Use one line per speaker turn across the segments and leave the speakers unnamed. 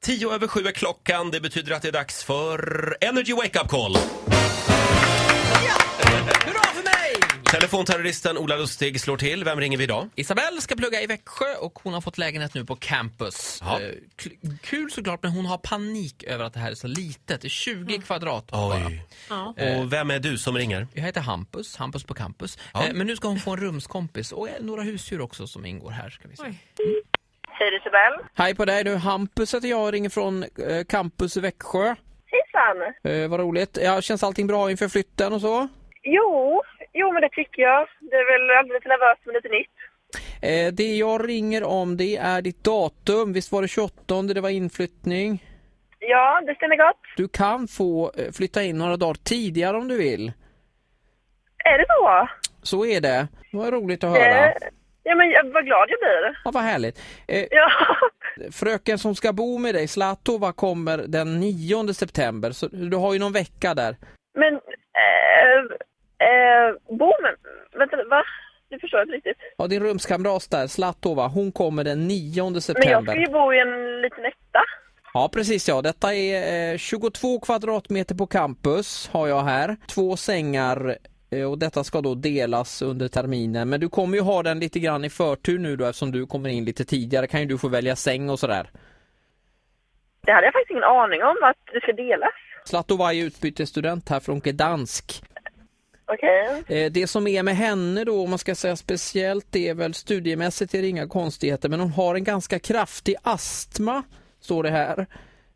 Tio över sju är klockan. Det betyder att det är dags för Energy Wake Up Call.
Hurra för mig!
Telefonterroristen Ola Lustig slår till. Vem ringer vi idag?
Isabelle ska plugga i Växjö och hon har fått lägenhet nu på campus.
Ja.
Eh, kl- Kul såklart men hon har panik över att det här är så litet. Det är 20 kvadrat bara.
Oj.
Ja.
Eh, Och vem är du som ringer?
Jag heter Hampus, Hampus på campus.
Ja.
Eh, Men nu ska hon få en rumskompis och eh, några husdjur också som ingår här. Ska vi se.
Oj.
Hej det är Isabel.
Hej på dig du, Hampus heter jag och ringer från eh, campus i Växjö.
Hejsan.
Eh, vad roligt. Ja, känns allting bra inför flytten och så?
Jo, jo men det tycker jag. Det är väl alldeles nervöst men lite nytt.
Eh, det jag ringer om det är ditt datum. Visst var det 28 det var inflyttning?
Ja, det stämmer gott.
Du kan få eh, flytta in några dagar tidigare om du vill.
Är det så?
Så är det. Vad roligt att
Eh,
höra.
Ja men jag- vad glad jag blir.
Ja, vad härligt. Eh,
Ja,
fröken som ska bo med dig, Zlatova, kommer den 9 september. Så du har ju någon vecka där.
men... Eh, eh, bo med... Vänta nu, va? Det förstår jag inte riktigt.
Ja, din rumskamrat där, Zlatova, hon kommer den 9
Men jag
september.
ska ju bo i en liten etta.
Ja precis ja, detta är eh, 22 kvadratmeter på campus har jag här. Två sängar eh, och detta ska då delas under terminen. Men du kommer ju ha den lite grann i förtur nu då eftersom du kommer in lite tidigare kan ju du få välja säng och sådär.
Det hade jag faktiskt ingen aning om att det ska delas.
Zlatova är utbytesstudent här från Gdansk.
Okej.
Eh, Det som är med henne då, om man ska säga speciellt, det är väl studiemässigt är det inga konstigheter, men hon har en ganska kraftig astma, står det här.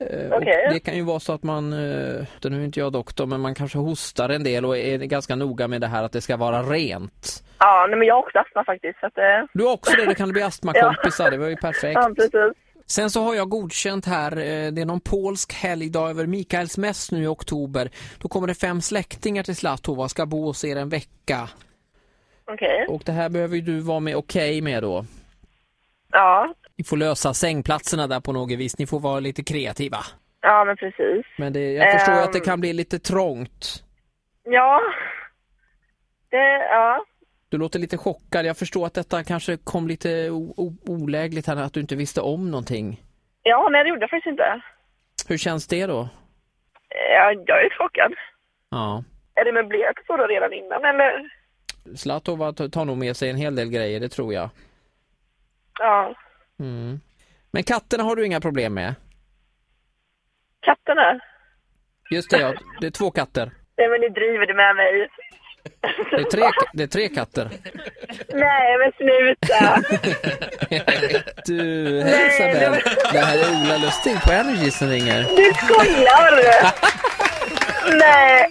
Eh, och
Okej.
Det kan ju vara så att man, eh, det- nu är inte jag doktor, men man kanske hostar en del och är ganska noga med det här att det ska vara rent.
Ja, nej, men jag har också astma faktiskt. Så att, eh,
Du har också det, då kan det bli astmakompisar, det var ju perfekt.
ja, precis.
Sen så har jag godkänt här, eh, det är någon polsk helgdag över Mikaels mäss nu i oktober. Då kommer det fem släktingar till Zlatova, ska bo hos er en vecka.
Okej.
Och det här behöver ju du vara med okej med då.
Ja.
Ni får lösa sängplatserna där på något vis. Ni får vara lite kreativa.
ja, men precis.
Men det, jag förstår ju att det
Ehm.
kan bli lite trångt.
Ja. Det, ja.
Du låter lite chockad. Jag förstår att detta kanske kom lite o- o- olägligt här, att du inte visste om någonting.
Ja, nej det gjorde jag faktiskt inte.
Hur känns det då?
Ja, jag är chockad.
Ja.
Är det möblerat så då redan innan eller?
Zlatova t- tar nog med sig en hel del grejer, det tror jag.
Ja.
Mm. Men katterna har du inga problem med?
Katterna?
Just det, ja. det är två katter.
Nej men ni driver det med mig.
Det är tre, det är tre katter.
Nej men sluta!
Du, hej Isabel. Det här är Ola Lustig på Energy som ringer.
Du skojar! Nej!